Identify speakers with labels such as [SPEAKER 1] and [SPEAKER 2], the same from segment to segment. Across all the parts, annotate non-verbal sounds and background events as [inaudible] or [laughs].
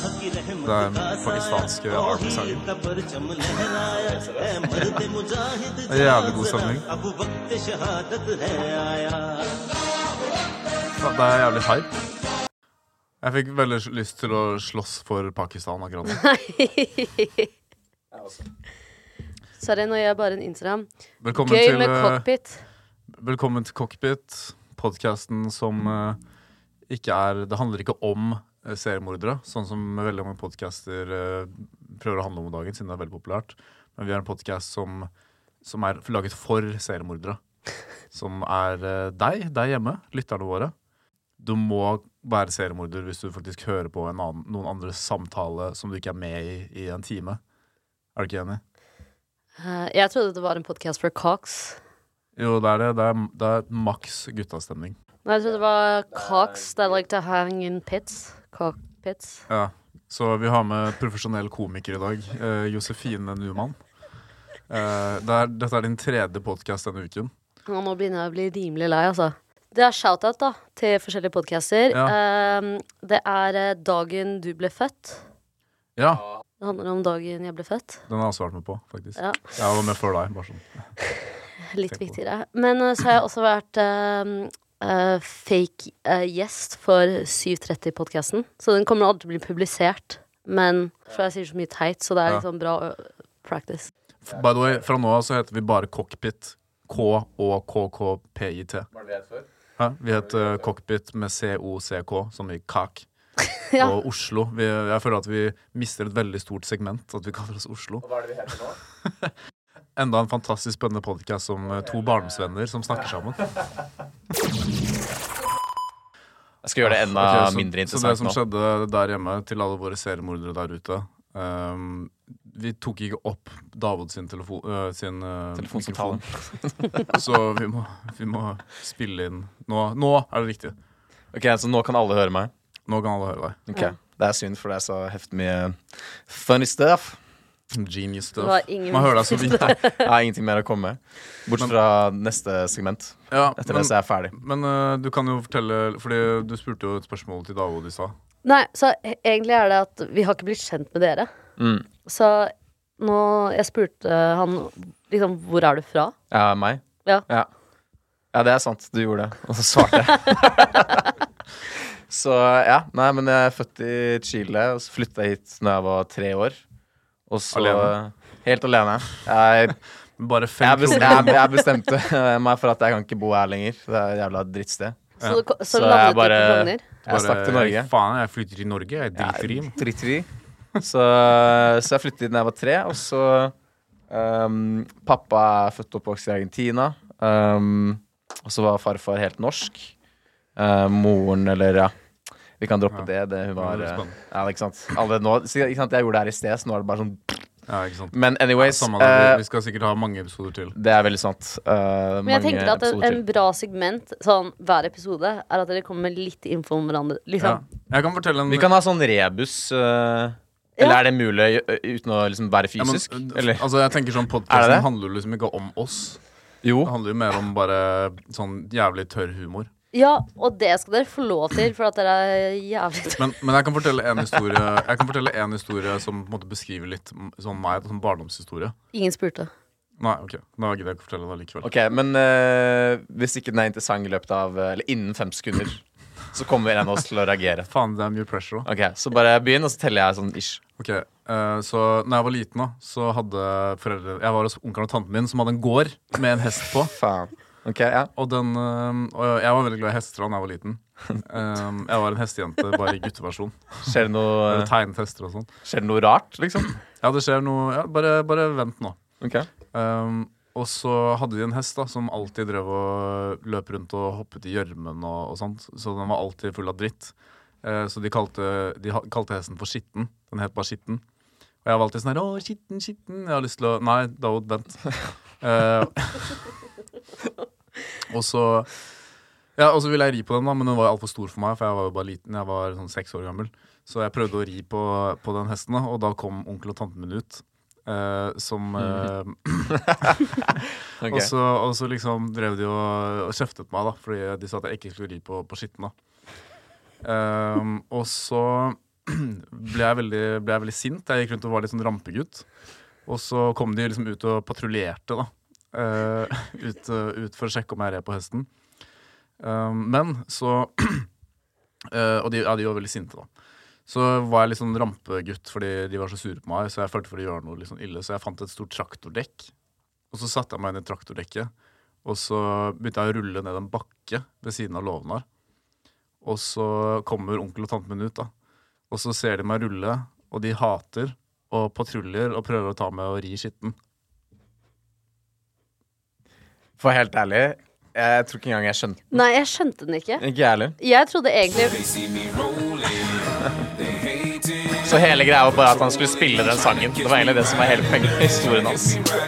[SPEAKER 1] Det er den pakistanske army-sangen. Det er Jævlig god stemning. Ja, Det er jævlig hype. Jeg fikk veldig lyst til å slåss for Pakistan akkurat nå.
[SPEAKER 2] Sorry, nå gjør jeg bare en Instagram.
[SPEAKER 1] Velkommen
[SPEAKER 2] Gøy
[SPEAKER 1] til,
[SPEAKER 2] med
[SPEAKER 1] eh,
[SPEAKER 2] cockpit.
[SPEAKER 1] Velkommen til Cockpit, podkasten som eh, ikke er Det handler ikke om eh, seriemordere, sånn som veldig mange podcaster eh, prøver å handle om om dagen, siden det er veldig populært. Men vi er en podkast som, som er laget for seriemordere. Som er eh, deg der hjemme, lytterne våre. Du må være seriemorder hvis du faktisk hører på en annen, noen andres samtale som du ikke er med i i en time. Er du ikke enig?
[SPEAKER 2] Eh, jeg trodde det var en podkast for Cox.
[SPEAKER 1] Jo, det er det. Det er, det er maks guttastemning.
[SPEAKER 2] Nei, jeg trodde det var Cox that like to hang in pits. Cockpits.
[SPEAKER 1] Ja, så vi har med profesjonell komiker i dag. Eh, Josefine Numann. Eh, det er, dette er din tredje podkast denne uken.
[SPEAKER 2] Ja, nå begynner jeg å bli rimelig lei, altså. Det er shout-out da, til forskjellige podcaster. Eh, det er eh, dagen du ble født.
[SPEAKER 1] Ja,
[SPEAKER 2] Det handler om dagen jeg ble født.
[SPEAKER 1] den har jeg også vært med på, faktisk.
[SPEAKER 2] Ja.
[SPEAKER 1] Jeg var med før deg. bare sånn.
[SPEAKER 2] Litt
[SPEAKER 1] Tenk på
[SPEAKER 2] viktigere. Men eh, så har jeg også vært eh, eh, fake eh, gjest for 730-podkasten. Så den kommer aldri til å bli publisert. Men for jeg sier så mye teit, så det er
[SPEAKER 1] Ja.
[SPEAKER 2] liksom bra eh, practice.
[SPEAKER 1] F- By the way, Fra nå av så heter vi bare Cockpit. K og KKPIT. Hæ? Vi heter Cockpit med COCK, som i kak.
[SPEAKER 2] Ja.
[SPEAKER 1] Og Oslo. Vi, jeg føler at vi mister et veldig stort segment, at vi kaller oss Oslo.
[SPEAKER 3] Hva er det vi heter nå?
[SPEAKER 1] [laughs] Enda en fantastisk spennende podkast om eh, to barndomsvenner som snakker sammen.
[SPEAKER 3] Jeg skal gjøre det enda
[SPEAKER 1] Ah, Ok, så,
[SPEAKER 3] mindre
[SPEAKER 1] Så det
[SPEAKER 3] interessant
[SPEAKER 1] som
[SPEAKER 3] nå.
[SPEAKER 1] skjedde der hjemme, til alle våre seriemordere der ute ehm, Vi tok ikke opp Davod sin telefon øh, sin, øh,
[SPEAKER 3] Telefonsamtalen.
[SPEAKER 1] mikrofon. så vi må, vi må spille inn nå, nå er det riktig.
[SPEAKER 3] Ok, Så nå kan alle høre meg?
[SPEAKER 1] Nå kan alle høre deg.
[SPEAKER 3] Ok, Det er synd, for det er så heftig mye funny stuff.
[SPEAKER 1] [laughs] Genius
[SPEAKER 2] Det
[SPEAKER 1] stuff.
[SPEAKER 2] var ingen
[SPEAKER 1] Man hører deg så vidt.
[SPEAKER 3] Jeg har ingenting mer å komme med. Bortsett fra neste segment.
[SPEAKER 1] Ja,
[SPEAKER 3] Etter
[SPEAKER 1] men
[SPEAKER 3] det så er jeg ferdig.
[SPEAKER 1] men øh, du kan jo fortelle Fordi du spurte jo et spørsmål til Davod i stad.
[SPEAKER 2] Nei, så e- egentlig er det at vi har ikke blitt kjent med dere.
[SPEAKER 3] Mm.
[SPEAKER 2] Så nå Jeg spurte han liksom Hvor er du fra?
[SPEAKER 3] Ja, meg?
[SPEAKER 2] Ja.
[SPEAKER 3] ja. Ja, det er sant. Du gjorde det. Og så svarte jeg.
[SPEAKER 1] [laughs]
[SPEAKER 3] så ja. Nei, men jeg er født i Chile, og så flytta jeg hit når jeg var tre år. Og så
[SPEAKER 1] Alene?
[SPEAKER 3] Helt alene. Jeg
[SPEAKER 1] Bare
[SPEAKER 3] Jeg,
[SPEAKER 1] fem
[SPEAKER 3] bes-
[SPEAKER 1] kroner.
[SPEAKER 3] jeg, jeg bestemte meg for at jeg kan ikke bo her lenger. Det er et jævla drittsted.
[SPEAKER 2] Så, du ko- så
[SPEAKER 3] Så jeg
[SPEAKER 2] landet du
[SPEAKER 3] bare-
[SPEAKER 2] på Frogner?
[SPEAKER 3] Jeg stakk til
[SPEAKER 1] Bare,
[SPEAKER 3] Norge.
[SPEAKER 1] Faen, jeg flytter til Norge. Jeg driter i
[SPEAKER 3] Jeg
[SPEAKER 1] den.
[SPEAKER 3] er Drittfri. Så, så jeg flyttet hit da jeg var tre, og så um, Pappa er født og oppvokst i Argentina. Um, og så var farfar helt norsk. Uh, moren, eller ja Vi kan droppe det. det hun var
[SPEAKER 1] det er
[SPEAKER 3] uh,
[SPEAKER 1] spennende.
[SPEAKER 3] ja, ikke sant? Allerede nå, ikke sant? Jeg gjorde det her i sted, så nå er det bare sånn
[SPEAKER 1] Ja, ikke sant.
[SPEAKER 3] Men anyways,
[SPEAKER 1] Samme det, liksom-
[SPEAKER 3] uh,
[SPEAKER 1] vi- vi skal sikkert ha mange episoder til.
[SPEAKER 3] det er veldig sant. Uh,
[SPEAKER 2] Men jeg
[SPEAKER 3] mange
[SPEAKER 2] tenker at en,
[SPEAKER 3] episoder
[SPEAKER 2] en bra segment sånn hver episode er at dere kommer med litt info om hverandre.
[SPEAKER 1] Ja.
[SPEAKER 2] Liksom.
[SPEAKER 1] Jeg kan fortelle en
[SPEAKER 3] Vi kan ha sånn rebus. øh, Eller
[SPEAKER 2] Ja.
[SPEAKER 3] er det mulig ø, uten å liksom være
[SPEAKER 1] Ja, men,
[SPEAKER 3] fysisk?
[SPEAKER 1] d-
[SPEAKER 3] eller?
[SPEAKER 1] Altså, jeg tenker sånn
[SPEAKER 3] Er det det?
[SPEAKER 1] Podkasten handler jo liksom ikke om oss.
[SPEAKER 3] Jo.
[SPEAKER 1] Det handler jo mer om bare sånn jævlig tørr humor.
[SPEAKER 2] Ja. og det skal dere få lov til, for at dere er jævlig
[SPEAKER 1] Men, men jeg kan fortelle en historie Jeg kan fortelle en historie som på en måte beskriver litt m- sånn meg, som barndomshistorie.
[SPEAKER 2] Ingen spurte.
[SPEAKER 1] Nei, ok, da gidder jeg ikke fortelle det likevel.
[SPEAKER 3] Ok, men øh, hvis ikke den er interessant i løpet av øh, Eller innen fem [clears throat] sekunder, så kommer en av oss til å reagere.
[SPEAKER 1] Faen, det er mye pressure òg.
[SPEAKER 3] Ok, Så bare begynn, og så teller jeg sånn ish.
[SPEAKER 1] Ok, eh, så når jeg var liten, da, så hadde foreldre Jeg var hos onkelen og tanten min, som hadde en gård med en hest på.
[SPEAKER 3] Faen. Ok, ja.
[SPEAKER 1] Og, den, eh, og jeg var veldig glad i hester da jeg var
[SPEAKER 3] [laughs]
[SPEAKER 1] liten. Eh, jeg var en hestejente, bare i gutteversjon.
[SPEAKER 3] Skjer det noe,
[SPEAKER 1] Bare Tegnet hester og sånn.
[SPEAKER 3] skjer det noe rart, liksom?
[SPEAKER 1] Ja, det skjer noe ja, bare, bare vent nå.
[SPEAKER 3] Ok.
[SPEAKER 1] Um, og så hadde de en hest da som alltid drev og løp rundt og hoppet i gjørmen. Og, og sånt, så den var alltid full av dritt. Eh, så de kalte, de ha- kalte hesten for Skitten. Den het bare Skitten. Og jeg var alltid sånn her Å, skitten, skitten. Jeg har lyst til å Nei, Daoud, [laughs] vent. Eh, Ehm, og så Ja, og så ville jeg ri på den, da, men den var altfor stor for meg, for jeg var jo bare liten. Jeg var sånn seks år gammel. Så jeg prøvde å ri på, på den hesten, da, og da kom onkel og tanten min ut. eh, som eh,
[SPEAKER 3] ok.
[SPEAKER 1] og, så, og så liksom drev de og, og kjeftet meg, da, fordi de sa at jeg ikke skulle ri på, på skitten. da. Ehm, og så [clears throat] ble jeg, veldig, ble jeg veldig sint. Jeg gikk rundt og var litt sånn rampegutt. Og så kom de liksom ut og patruljerte, da. Eh, [laughs] ut, eh, ut for å sjekke om jeg red på hesten. Eh, men så [clears throat] eh, Og de, ja, de var veldig sinte, da. Så var jeg litt sånn rampegutt fordi de var så sure på meg, så jeg følte for å gjøre noe litt sånn ille. Så jeg fant et stort traktordekk, og så satte jeg meg inn i traktordekket. Og så begynte jeg å rulle ned en bakke ved siden av Lovnar. Og så kommer onkel og tanten min ut, da. Og så ser de meg rulle, og de hater og patruljer og prøver å ta meg og ri skitten.
[SPEAKER 3] For helt ærlig, jeg tror ikke engang jeg skjønte
[SPEAKER 2] Nei, jeg skjønte den ikke.
[SPEAKER 3] den. Ikke jeg heller.
[SPEAKER 2] Jeg trodde egentlig
[SPEAKER 4] They see me rolling. They hate it.
[SPEAKER 3] Så hele greia var bare at han skulle spille den sangen. Det var egentlig det som var hele poenget med historien hans.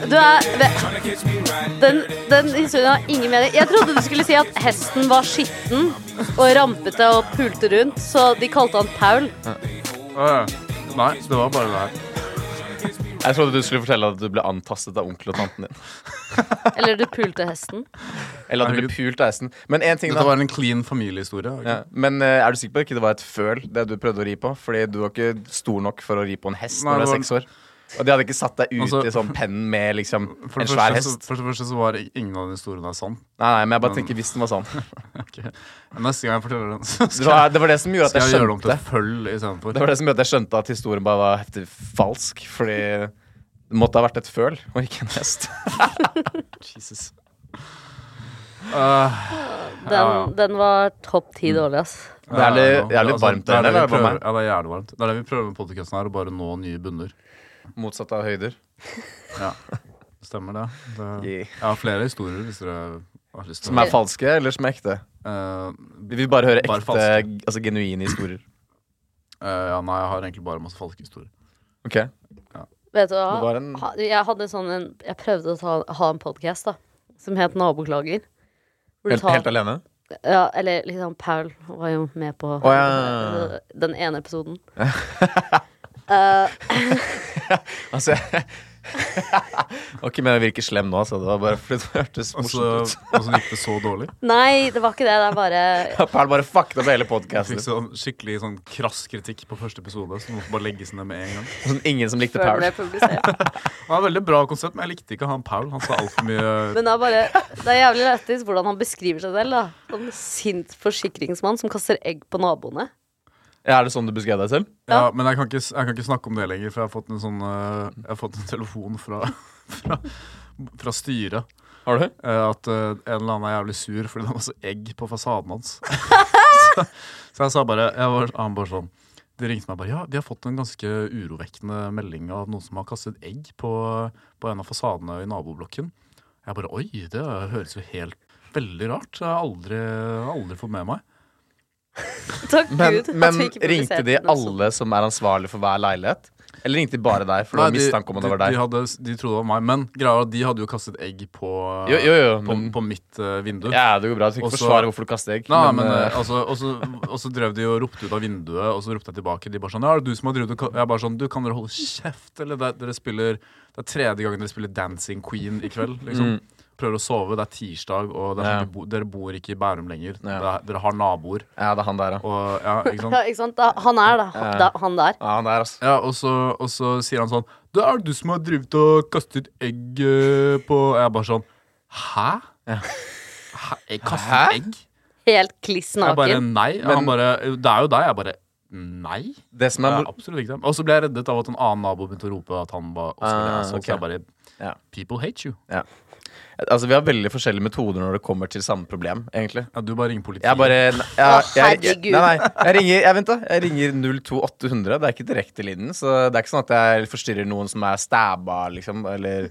[SPEAKER 2] Du er ve-
[SPEAKER 4] Tryna catch me riding
[SPEAKER 2] den, den historien har ingen mening. Jeg trodde du skulle si at hesten var skitten og rampete og pulte rundt, så de kalte han Paul.
[SPEAKER 1] nei, det var bare det her.
[SPEAKER 3] Jeg trodde du skulle fortelle at du ble antastet av onkel og tanten din.
[SPEAKER 2] Eller du pulte hesten.
[SPEAKER 3] Eller at du ble pult av hesten. Men én ting,
[SPEAKER 1] Dette
[SPEAKER 3] da.
[SPEAKER 1] var en clean familiehistorie. ikke?
[SPEAKER 3] Ja. Men eh, er du sikker på at det ikke var et føl, det du prøvde å ri på? Fordi du var ikke stor nok for å ri på en hest
[SPEAKER 1] Nei,
[SPEAKER 3] når du
[SPEAKER 1] det
[SPEAKER 3] er
[SPEAKER 1] var-
[SPEAKER 3] seks år. Og de hadde ikke satt deg ut
[SPEAKER 1] Altså-
[SPEAKER 3] i sånn penn med liksom
[SPEAKER 1] For
[SPEAKER 3] en
[SPEAKER 1] det
[SPEAKER 3] svær
[SPEAKER 1] første, så,
[SPEAKER 3] hest.
[SPEAKER 1] for det første så var ingen av de historiene sann.
[SPEAKER 3] [laughs] Nei, nei, men jeg bare tenker hvis den var sånn.
[SPEAKER 1] [laughs] Ok. Men Neste gang jeg forteller den, så
[SPEAKER 3] Det
[SPEAKER 1] skal,
[SPEAKER 3] var det, var det som gjorde at
[SPEAKER 1] skal
[SPEAKER 3] jeg
[SPEAKER 1] jeg gjøre det om til
[SPEAKER 3] skjønte
[SPEAKER 1] et føll
[SPEAKER 3] Det
[SPEAKER 1] istedenfor.
[SPEAKER 3] var det som gjorde at jeg skjønte at historien bare var heftig falsk. Fordi det måtte ha vært et føl, og ikke en hest. [laughs]
[SPEAKER 1] Jesus. Uh, Ja, ja.
[SPEAKER 2] Den, den var topp ti
[SPEAKER 3] Mm.
[SPEAKER 2] dårlig, ass.
[SPEAKER 3] Det er litt, det er litt varmt der
[SPEAKER 1] Altså, det, er det, vi
[SPEAKER 3] inne. eller bare
[SPEAKER 1] prøver, ja, det er jævlig varmt. Det er det vi prøver med podcasten her, å bare nå nye bunner.
[SPEAKER 3] meg? Motsatt av høyder.
[SPEAKER 1] Ja. Stemmer det. det
[SPEAKER 3] [laughs] Yeah.
[SPEAKER 1] Jeg har flere historier, hvis dere har lyst til
[SPEAKER 3] Som er falske, eller som er ekte?
[SPEAKER 1] Eh,
[SPEAKER 3] Vi vil bare høre
[SPEAKER 1] Bare
[SPEAKER 3] ekte,
[SPEAKER 1] falske.
[SPEAKER 3] altså genuine historier.
[SPEAKER 1] eh, ja, nei, jeg har egentlig bare masse falske historier.
[SPEAKER 3] Ok,
[SPEAKER 2] Vet du
[SPEAKER 3] Det var
[SPEAKER 2] hva?
[SPEAKER 3] en-
[SPEAKER 2] Ha- Jeg hadde en sånn en, Jeg prøvde å ta, ha en podkast som het Naboklager. Hvor du
[SPEAKER 3] Helt,
[SPEAKER 2] tar-
[SPEAKER 3] helt alene?
[SPEAKER 2] Ja, eller liksom Paul var jo med på
[SPEAKER 3] ja, ja, ja.
[SPEAKER 2] den ene episoden. Eh,
[SPEAKER 3] Altså jeg [laughs] var ikke meningen å virke slem nå, altså. Det var bare fordi det hørtes
[SPEAKER 1] Og så
[SPEAKER 3] morsomt
[SPEAKER 1] [laughs]
[SPEAKER 3] ut.
[SPEAKER 1] og så gikk det så
[SPEAKER 3] [laughs]
[SPEAKER 1] dårlig.
[SPEAKER 2] nei, det var ikke det. Det er bare
[SPEAKER 3] Perl bare fucket opp hele
[SPEAKER 1] Jeg
[SPEAKER 3] podkasten.
[SPEAKER 1] fikk sånn skikkelig sånn krass kritikk på første episode. Så den måtte bare legges ned med en gang
[SPEAKER 3] Sånn, ingen som likte
[SPEAKER 2] før det
[SPEAKER 3] Perl.
[SPEAKER 2] ble publisert.
[SPEAKER 1] Det var et veldig bra konsept, men jeg likte ikke han Paul. Han sa altfor mye
[SPEAKER 3] [laughs]
[SPEAKER 2] Men det er bare Det er jævlig lættis hvordan han beskriver seg selv. da Som sint forsikringsmann som kaster egg på naboene.
[SPEAKER 3] Ja, er det sånn du beskrev deg selv?
[SPEAKER 1] ja, Men jeg kan, ikke, s- jeg kan ikke snakke om det lenger, for jeg har fått en sånn eh, Jeg har fått en telefon fra, [laughs] fra, fra styret
[SPEAKER 3] Har du?
[SPEAKER 1] eh, at eh, en eller annen er jævlig sur fordi det er masse egg på fasaden hans. så, så jeg sa bare jeg var, Han bare sånn De ringte meg bare Ja, vi har fått en ganske urovekkende melding av noen som har kastet egg på, på en av fasadene i naboblokken. Jeg bare Oi, det høres jo helt veldig rart. Jeg har aldri, aldri fått med meg.
[SPEAKER 2] Takk
[SPEAKER 3] Men,
[SPEAKER 2] Gud. at
[SPEAKER 3] men
[SPEAKER 2] vi ikke
[SPEAKER 3] ringte
[SPEAKER 2] publiserte
[SPEAKER 3] de
[SPEAKER 2] den episoden.
[SPEAKER 3] alle som er ansvarlig for hver leilighet? Eller ringte de bare deg? For det var
[SPEAKER 1] Nei,
[SPEAKER 3] mistanke om at det var
[SPEAKER 1] De,
[SPEAKER 3] deg.
[SPEAKER 1] de, hadde, de trodde det var meg, men greia var at de hadde jo kastet egg på,
[SPEAKER 3] Jo, jo, jo,
[SPEAKER 1] på,
[SPEAKER 3] men-
[SPEAKER 1] på mitt eh, vindu.
[SPEAKER 3] Ja, det går bra. Du skal
[SPEAKER 1] Og
[SPEAKER 3] ikke
[SPEAKER 1] så-
[SPEAKER 3] forsvare hvorfor du kaster egg.
[SPEAKER 1] Nei,
[SPEAKER 3] men,
[SPEAKER 1] men,
[SPEAKER 3] eh,
[SPEAKER 1] eh, altså, og så- og så drev de og ropte ut av vinduet, og så ropte jeg tilbake. De bare sånn, ja, er det du som har drevet og ka-" Jeg bare sånn, du, kan dere holde kjeft? Eller det, dere spiller, det er tredje gangen dere spiller Dancing Queen i kveld, liksom. Prøver å sove, det er tirsdag, og det er sånn,
[SPEAKER 3] Mm. Ja.
[SPEAKER 1] du bo, dere bor ikke i Bærum lenger. Det
[SPEAKER 3] Ja.
[SPEAKER 1] er, dere har naboer,
[SPEAKER 3] ja, det er han der, ja.
[SPEAKER 1] og ja, ikke sant?
[SPEAKER 2] [laughs] Ja, ikke sant? Da, han er da,
[SPEAKER 3] Ja.
[SPEAKER 2] da han der.
[SPEAKER 3] Ja, han der, altså.
[SPEAKER 1] Ja, og så, og så sier han sånn Det er du som har drevet og kastet egg eh, på Og jeg bare sånn Hæ? Hæ? Jeg kastet
[SPEAKER 3] Hæ?
[SPEAKER 1] egg?
[SPEAKER 2] Helt kliss
[SPEAKER 1] Jeg bare
[SPEAKER 2] naken.
[SPEAKER 1] nei.
[SPEAKER 3] Men-
[SPEAKER 1] han bare Det er jo deg. Jeg bare Nei.
[SPEAKER 3] Det som
[SPEAKER 1] Det
[SPEAKER 3] er
[SPEAKER 1] er
[SPEAKER 3] mor-
[SPEAKER 1] absolutt ikke det. Og så ble jeg reddet av at en annen nabo begynte å rope at han var også ville
[SPEAKER 3] Ah,
[SPEAKER 1] jeg, så
[SPEAKER 3] ok.
[SPEAKER 1] jeg bare
[SPEAKER 3] Ja.
[SPEAKER 1] People hate you.
[SPEAKER 3] Altså, vi har veldig forskjellige metoder når det kommer til samme problem, egentlig.
[SPEAKER 1] Ja, du bare ringer politiet.
[SPEAKER 3] Jeg bare jeg,
[SPEAKER 2] Å,
[SPEAKER 3] jeg, jeg,
[SPEAKER 2] herregud.
[SPEAKER 3] Nei, nei. Jeg ringer, jeg, vent da, jeg ringer 02800. Det er ikke direktelinjen, så det er ikke sånn at jeg forstyrrer noen som er stabba, liksom, eller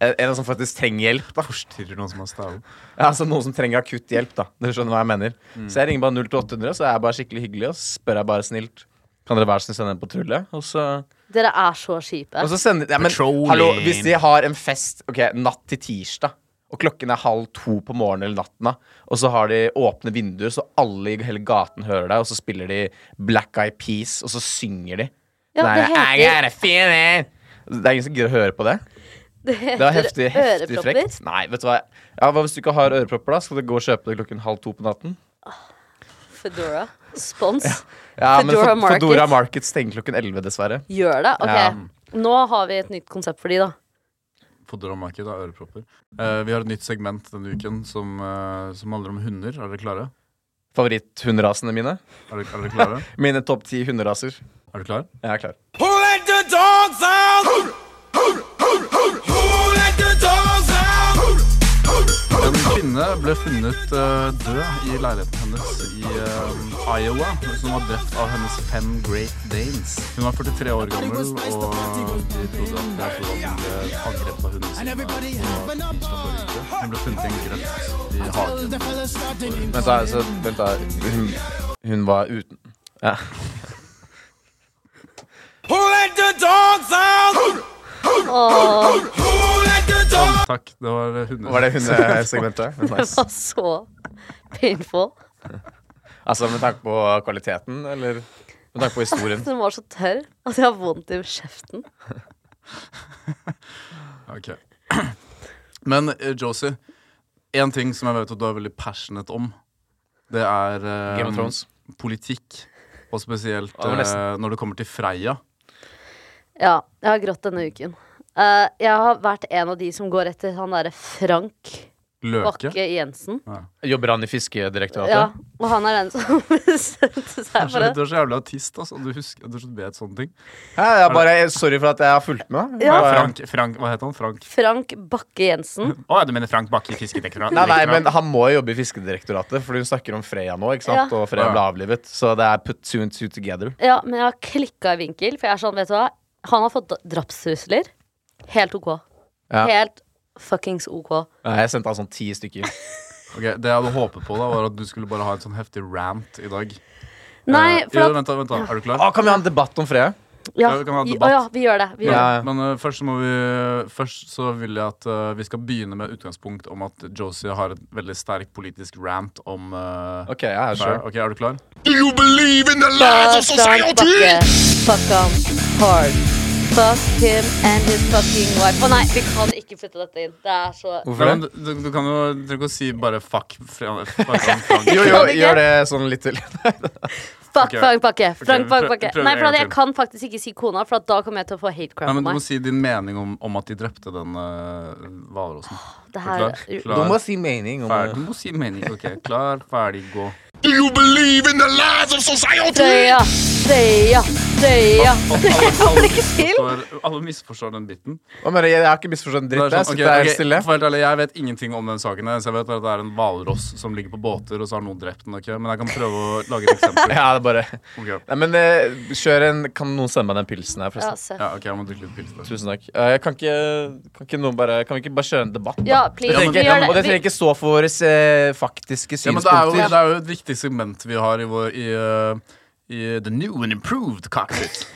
[SPEAKER 3] en en som faktisk trenger hjelp.
[SPEAKER 1] da forstyrrer noen som har stavet.
[SPEAKER 3] Ja, altså Noen som trenger akutt hjelp. da Dere skjønner hva jeg mener
[SPEAKER 2] Mm.
[SPEAKER 3] Så jeg ringer bare 02800, så er jeg bare skikkelig hyggelig og så spør jeg bare snilt Kan dere være så snill sende en patrulje. Og så,
[SPEAKER 2] Dere er så kjipe.
[SPEAKER 3] og så sender ja, men,
[SPEAKER 1] Patrolling.
[SPEAKER 3] hallo, Hvis de har en fest Ok, natt til tirsdag, og klokken er halv to på morgenen eller natten, da, og så har de åpne vinduer, så alle i hele gaten hører deg, og så spiller de Black Eye Peas, og så synger de.
[SPEAKER 2] Ja,
[SPEAKER 3] Sånn
[SPEAKER 2] det
[SPEAKER 3] her,
[SPEAKER 2] heter-
[SPEAKER 3] "I got a feeling." Det er ingen som gidder å høre på det.
[SPEAKER 2] det
[SPEAKER 3] Det var heftig, heftig
[SPEAKER 2] ørepropper.
[SPEAKER 3] frekt. Nei, vet du hva. Ja, hva Hvis du ikke har ørepropper, da, skal du gå og kjøpe det klokken halv to på natten.
[SPEAKER 2] Fedora. Spons.
[SPEAKER 3] Ja, men
[SPEAKER 2] Fedora
[SPEAKER 3] Fed-
[SPEAKER 2] Market.
[SPEAKER 3] Fedora Market stenger klokken 11, dessverre.
[SPEAKER 2] Gjør det? Ok.
[SPEAKER 3] Ja.
[SPEAKER 2] Nå har vi et nytt konsept for de, da.
[SPEAKER 1] Foderommarked av ørepropper. Eh, vi har et nytt segment denne uken som, eh, som handler om hunder. Er dere klare?
[SPEAKER 3] Favoritthunderasene
[SPEAKER 1] Er
[SPEAKER 3] mine.
[SPEAKER 1] dere, er dere
[SPEAKER 3] [laughs]
[SPEAKER 1] klare?
[SPEAKER 3] Mine topp ti hunderaser.
[SPEAKER 1] Er du klar?
[SPEAKER 3] Jeg er klar.
[SPEAKER 4] Who let the dogs out? Who let the dogs out?
[SPEAKER 1] En kvinne ble funnet eh, død i leiligheten hennes i eh, Iowa, som var drept av hennes fem Great Danes. Hun var 43 år gammel, og de trodde at hun ble angrepet av hunden sin. Hun ble funnet i en grøft i hagen.
[SPEAKER 3] Vent, da. Så, vent da. Hun, hun var uten ja.
[SPEAKER 4] Who let the dogs out?
[SPEAKER 2] Åh,
[SPEAKER 4] Who let the dogs
[SPEAKER 1] Takk, det var hunder.
[SPEAKER 3] Var det eh, hundesegmentet?
[SPEAKER 2] [laughs] det
[SPEAKER 3] Nice.
[SPEAKER 2] var så painful.
[SPEAKER 3] Altså med tanke på kvaliteten, eller med tanke på historien?
[SPEAKER 2] Den var så tørr at jeg har vondt i kjeften.
[SPEAKER 1] Ok. Men eh, Josie, en ting som jeg vet at du er veldig passionate om, det er eh,
[SPEAKER 3] Game of Thrones.
[SPEAKER 1] politikk. Og spesielt
[SPEAKER 3] Ja, det var nesten.
[SPEAKER 1] eh, når det kommer til Freia.
[SPEAKER 2] Ja, jeg har grått denne uken. Eh, jeg har vært en av de som går etter han derre Frank
[SPEAKER 1] Løke.
[SPEAKER 2] Bakke Jensen.
[SPEAKER 3] Um, Jobber han i Fiskedirektoratet?
[SPEAKER 2] Ja, og han er den som [laughs] bestemte seg
[SPEAKER 1] Kanskje
[SPEAKER 2] for
[SPEAKER 1] litt- Du
[SPEAKER 2] det.
[SPEAKER 1] er så jævlig autist, altså. Du, husker, du vet sånne ting.
[SPEAKER 3] Hæ, jeg er bare, sorry for at jeg har fulgt med.
[SPEAKER 2] Ja.
[SPEAKER 3] Bare-
[SPEAKER 1] Frank, Frank, hva heter han? Frank?
[SPEAKER 2] Frank Bakke Jensen.
[SPEAKER 1] [laughs] Å, du mener Frank Bakke i Fiskedekkerne?
[SPEAKER 3] Nei, nei, men Han må jobbe i Fiskedirektoratet, for hun snakker om Freya nå. ikke sant?
[SPEAKER 2] Ja.
[SPEAKER 3] Og Freya
[SPEAKER 1] Ja.
[SPEAKER 3] ble avlivet. Så det er put two and two together.
[SPEAKER 2] Ja, men jeg har klikka i vinkel, for jeg er sånn, vet du hva. Han har fått drapstrusler. Helt OK.
[SPEAKER 3] Ja.
[SPEAKER 2] Helt fuckings OK.
[SPEAKER 3] Nei, Jeg sendte han sånn ti stykker.
[SPEAKER 1] Ok, Det jeg hadde håpet på, da, var at du skulle bare ha en sånn heftig rant i dag.
[SPEAKER 2] Nei,
[SPEAKER 1] Eh, jo,
[SPEAKER 2] for at
[SPEAKER 1] vent, da, vent da, er du klar?
[SPEAKER 3] Å, Ah, kan vi ha en debatt om Freya?
[SPEAKER 2] Ja,
[SPEAKER 1] Ja, vi kan ha en
[SPEAKER 2] i- å
[SPEAKER 1] debatt.
[SPEAKER 2] ja, vi gjør det. Vi gjør
[SPEAKER 3] Ja.
[SPEAKER 2] det.
[SPEAKER 1] Men eh, først, så må vi, først så vil jeg at eh, vi skal begynne med utgangspunkt om at Josie har et veldig sterk politisk rant om eh,
[SPEAKER 3] Ok, jeg er
[SPEAKER 1] Freia.
[SPEAKER 3] sure.
[SPEAKER 1] Ok, Er du klar?
[SPEAKER 2] Fuck Frank Bakke. Fuck ham hard. Fuck him and his fucking wife. Å nei, vi kan ikke flytte dette inn. Det er så
[SPEAKER 3] Hvorfor
[SPEAKER 1] Nei, men
[SPEAKER 3] det?
[SPEAKER 1] du, du, du kan jo du trenger ikke å si bare fuck Freia. Bare sånn Frank.
[SPEAKER 3] Jo,
[SPEAKER 2] Kan
[SPEAKER 3] jo,
[SPEAKER 2] du ikke?
[SPEAKER 3] gjør det sånn litt til.
[SPEAKER 2] Fuck
[SPEAKER 1] Ok.
[SPEAKER 2] Frank Bakke. Frank
[SPEAKER 1] vi
[SPEAKER 2] Frank
[SPEAKER 1] prø-
[SPEAKER 2] Bakke.
[SPEAKER 1] prøver
[SPEAKER 2] Nei,
[SPEAKER 1] en
[SPEAKER 2] for at
[SPEAKER 1] gang
[SPEAKER 2] jeg kan faktisk ikke si kona, for at da kommer jeg til å få hate
[SPEAKER 1] Nei,
[SPEAKER 2] crime på
[SPEAKER 1] men Du må
[SPEAKER 2] meg.
[SPEAKER 1] si din mening om, om at de drepte den uh, hvalrossen.
[SPEAKER 2] Det
[SPEAKER 1] Er
[SPEAKER 2] her
[SPEAKER 1] du
[SPEAKER 2] er
[SPEAKER 1] klar? Klar,
[SPEAKER 3] si mening
[SPEAKER 1] ferdig. Du må si mening. Ok, Klar, ferdig, gå.
[SPEAKER 2] Frøya, Frøya, Frøya. Jeg får ikke til.
[SPEAKER 1] Forstår- Alle misforstår den biten.
[SPEAKER 3] Hva mener du? Jeg har ikke misforstått en
[SPEAKER 1] Det er
[SPEAKER 3] dritt. Jeg
[SPEAKER 1] sånn, ok,
[SPEAKER 3] sitter her
[SPEAKER 1] ok,
[SPEAKER 3] stille.
[SPEAKER 1] for helt ærlig, jeg vet ingenting om den saken. her, Så jeg vet at det er en hvalross som ligger på båter, og så har noen drept den. ok? Men jeg kan prøve å lage et eksempel.
[SPEAKER 3] Ja, det er bare
[SPEAKER 1] Ok.
[SPEAKER 3] Nei, men eh, kjør en Kan noen sende meg den pilsen her,
[SPEAKER 2] Ja,
[SPEAKER 3] forresten?
[SPEAKER 2] se.
[SPEAKER 1] Ja, ok, Jeg må drikke litt pils. da.
[SPEAKER 3] Tusen takk. Eh, Jeg kan ikke, kan ikke noen bare Kan vi ikke bare kjøre en debatt? da?
[SPEAKER 2] Ja, please.
[SPEAKER 3] Det trenger
[SPEAKER 2] Vi
[SPEAKER 3] ikke,
[SPEAKER 2] gjør
[SPEAKER 3] og det
[SPEAKER 2] det.
[SPEAKER 3] trenger ikke stå for våre eh, faktiske
[SPEAKER 1] Ja, men det, er jo,
[SPEAKER 3] synspunkter.
[SPEAKER 1] det er jo et viktig segment vi har i vår i, eh, i The new and improved cockpit.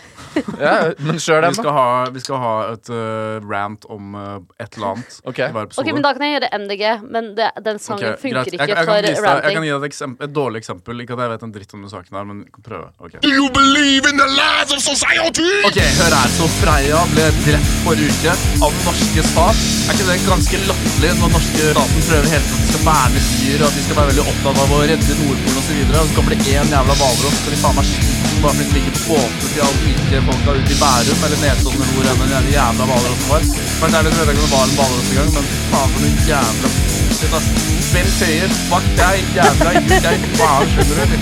[SPEAKER 3] Ja, men
[SPEAKER 1] Vi
[SPEAKER 3] kjør den, da.
[SPEAKER 1] skal ha, vi skal ha et eh, rant om eh, et eller annet
[SPEAKER 3] Ok.
[SPEAKER 1] i hver episode.
[SPEAKER 2] Ok, men Da kan jeg gjøre MDG, men det, den
[SPEAKER 1] Ok,
[SPEAKER 2] sangen
[SPEAKER 1] greit.
[SPEAKER 2] funker
[SPEAKER 1] Jeg- jeg
[SPEAKER 2] ikke
[SPEAKER 1] kan vise deg- Jeg kan
[SPEAKER 2] for ranting.
[SPEAKER 1] gi deg et, eksempel, et dårlig eksempel. Ikke at jeg vet en dritt om den saken her, men vi kan prøve. Ok.
[SPEAKER 4] You believe in the lies of society?
[SPEAKER 1] Ok, hør her. Så Freia ble drept forrige uke av den norske stat. Er ikke det ganske latterlig når den norske staten prøver hele tiden at de skal verne dyr, og at de skal være veldig opptatt av å redde Nordpolen osv., og så kommer det én jævla hvalross som de faen meg skyter bare fordi den ligger på båter til alle rike folka ute i Bærum eller Nesodden eller hvor enn den jævla jævla hvalrossen var. Men det er det jeg vet ikke om det var en hvalross engang, men faen for noen jævla shit, ass. Sven Tøyer, fuck deg, jævla jul, deg, faen, skjønner du, eller?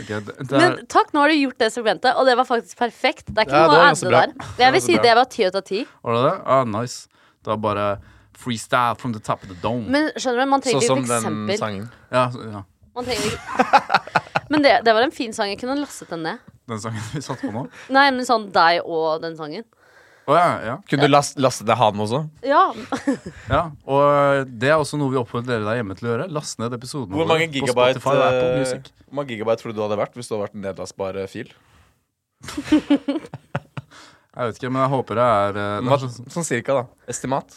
[SPEAKER 1] Okay, det, det
[SPEAKER 2] Men takk, nå har du gjort det segmentet, og det var faktisk perfekt. Det er ikke
[SPEAKER 3] Ja, det
[SPEAKER 2] noe å
[SPEAKER 3] var ganske
[SPEAKER 2] adde
[SPEAKER 3] bra.
[SPEAKER 2] der. Jeg vil
[SPEAKER 1] ganske
[SPEAKER 2] si
[SPEAKER 1] bra.
[SPEAKER 2] det var ti ut av ti.
[SPEAKER 1] Var det det? Ah, nice. Det var bare freestyle from the top of the dome.
[SPEAKER 2] Men skjønner du, man
[SPEAKER 3] Sånn
[SPEAKER 2] trenger jo
[SPEAKER 3] som
[SPEAKER 2] et
[SPEAKER 3] den
[SPEAKER 2] eksempel.
[SPEAKER 3] sangen.
[SPEAKER 1] ja, så- ja,
[SPEAKER 2] Man trenger ikke- [laughs] Men det, det var en fin sang. Jeg kunne lastet den ned.
[SPEAKER 1] den sangen vi satt på nå.
[SPEAKER 2] Nei, men sånn deg og den sangen.
[SPEAKER 1] Å ja, ja,
[SPEAKER 3] Kunne du last, laste ned han også?
[SPEAKER 2] Ja.
[SPEAKER 1] ja. Og eh, det er også noe vi oppfordrer dere der hjemme til å gjøre. Last ned episoden
[SPEAKER 3] Hvor mange gigabyte,
[SPEAKER 1] på Spotify og Apple Music.
[SPEAKER 3] eh, hvor mange gigabyte tror du du hadde vært hvis du hadde vært en nedlastbar eh, fil?
[SPEAKER 1] Jeg vet ikke, men jeg håper det er eh, det er sånn-
[SPEAKER 3] Sånn cirka, da. Estimat.